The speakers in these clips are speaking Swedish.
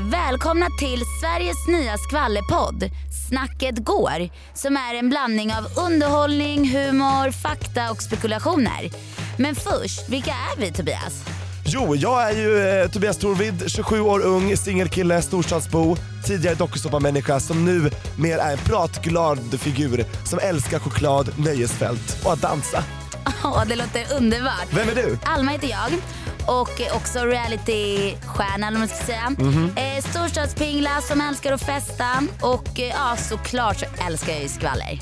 Välkomna till Sveriges nya skvallerpodd Snacket går som är en blandning av underhållning, humor, fakta och spekulationer. Men först, vilka är vi Tobias? Jo, jag är ju eh, Tobias Torvid, 27 år ung, singelkille, storstadsbo, tidigare dokusåpamänniska som nu mer är en pratglad figur som älskar choklad, nöjesfält och att dansa. Åh, det låter underbart. Vem är du? Alma heter jag och är också realitystjärna eller vad man ska säga. Eh, storstadspingla som älskar att festa och eh, ja, såklart så älskar jag ju skvaller.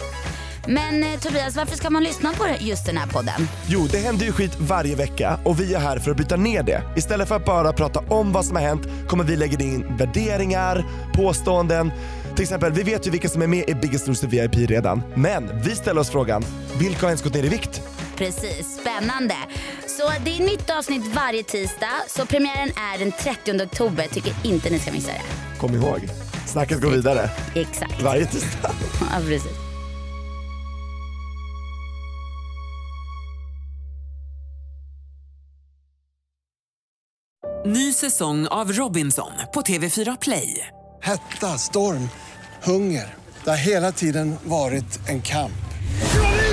Men eh, Tobias, varför ska man lyssna på just den här podden? Jo, det händer ju skit varje vecka och vi är här för att bryta ner det. Istället för att bara prata om vad som har hänt kommer vi lägga in värderingar, påståenden. Till exempel, vi vet ju vilka som är med i Biggest Loser VIP redan. Men vi ställer oss frågan, vilka har ens gått ner i vikt? Precis, spännande. Så det är nytt avsnitt varje tisdag, så premiären är den 30 oktober. Tycker inte ni ska missa det. Kom ihåg, snacket går vidare Exakt. varje tisdag. Ja, precis. Ny säsong av Robinson på TV4 Play. Hetta, storm, hunger. Det har hela tiden varit en kamp.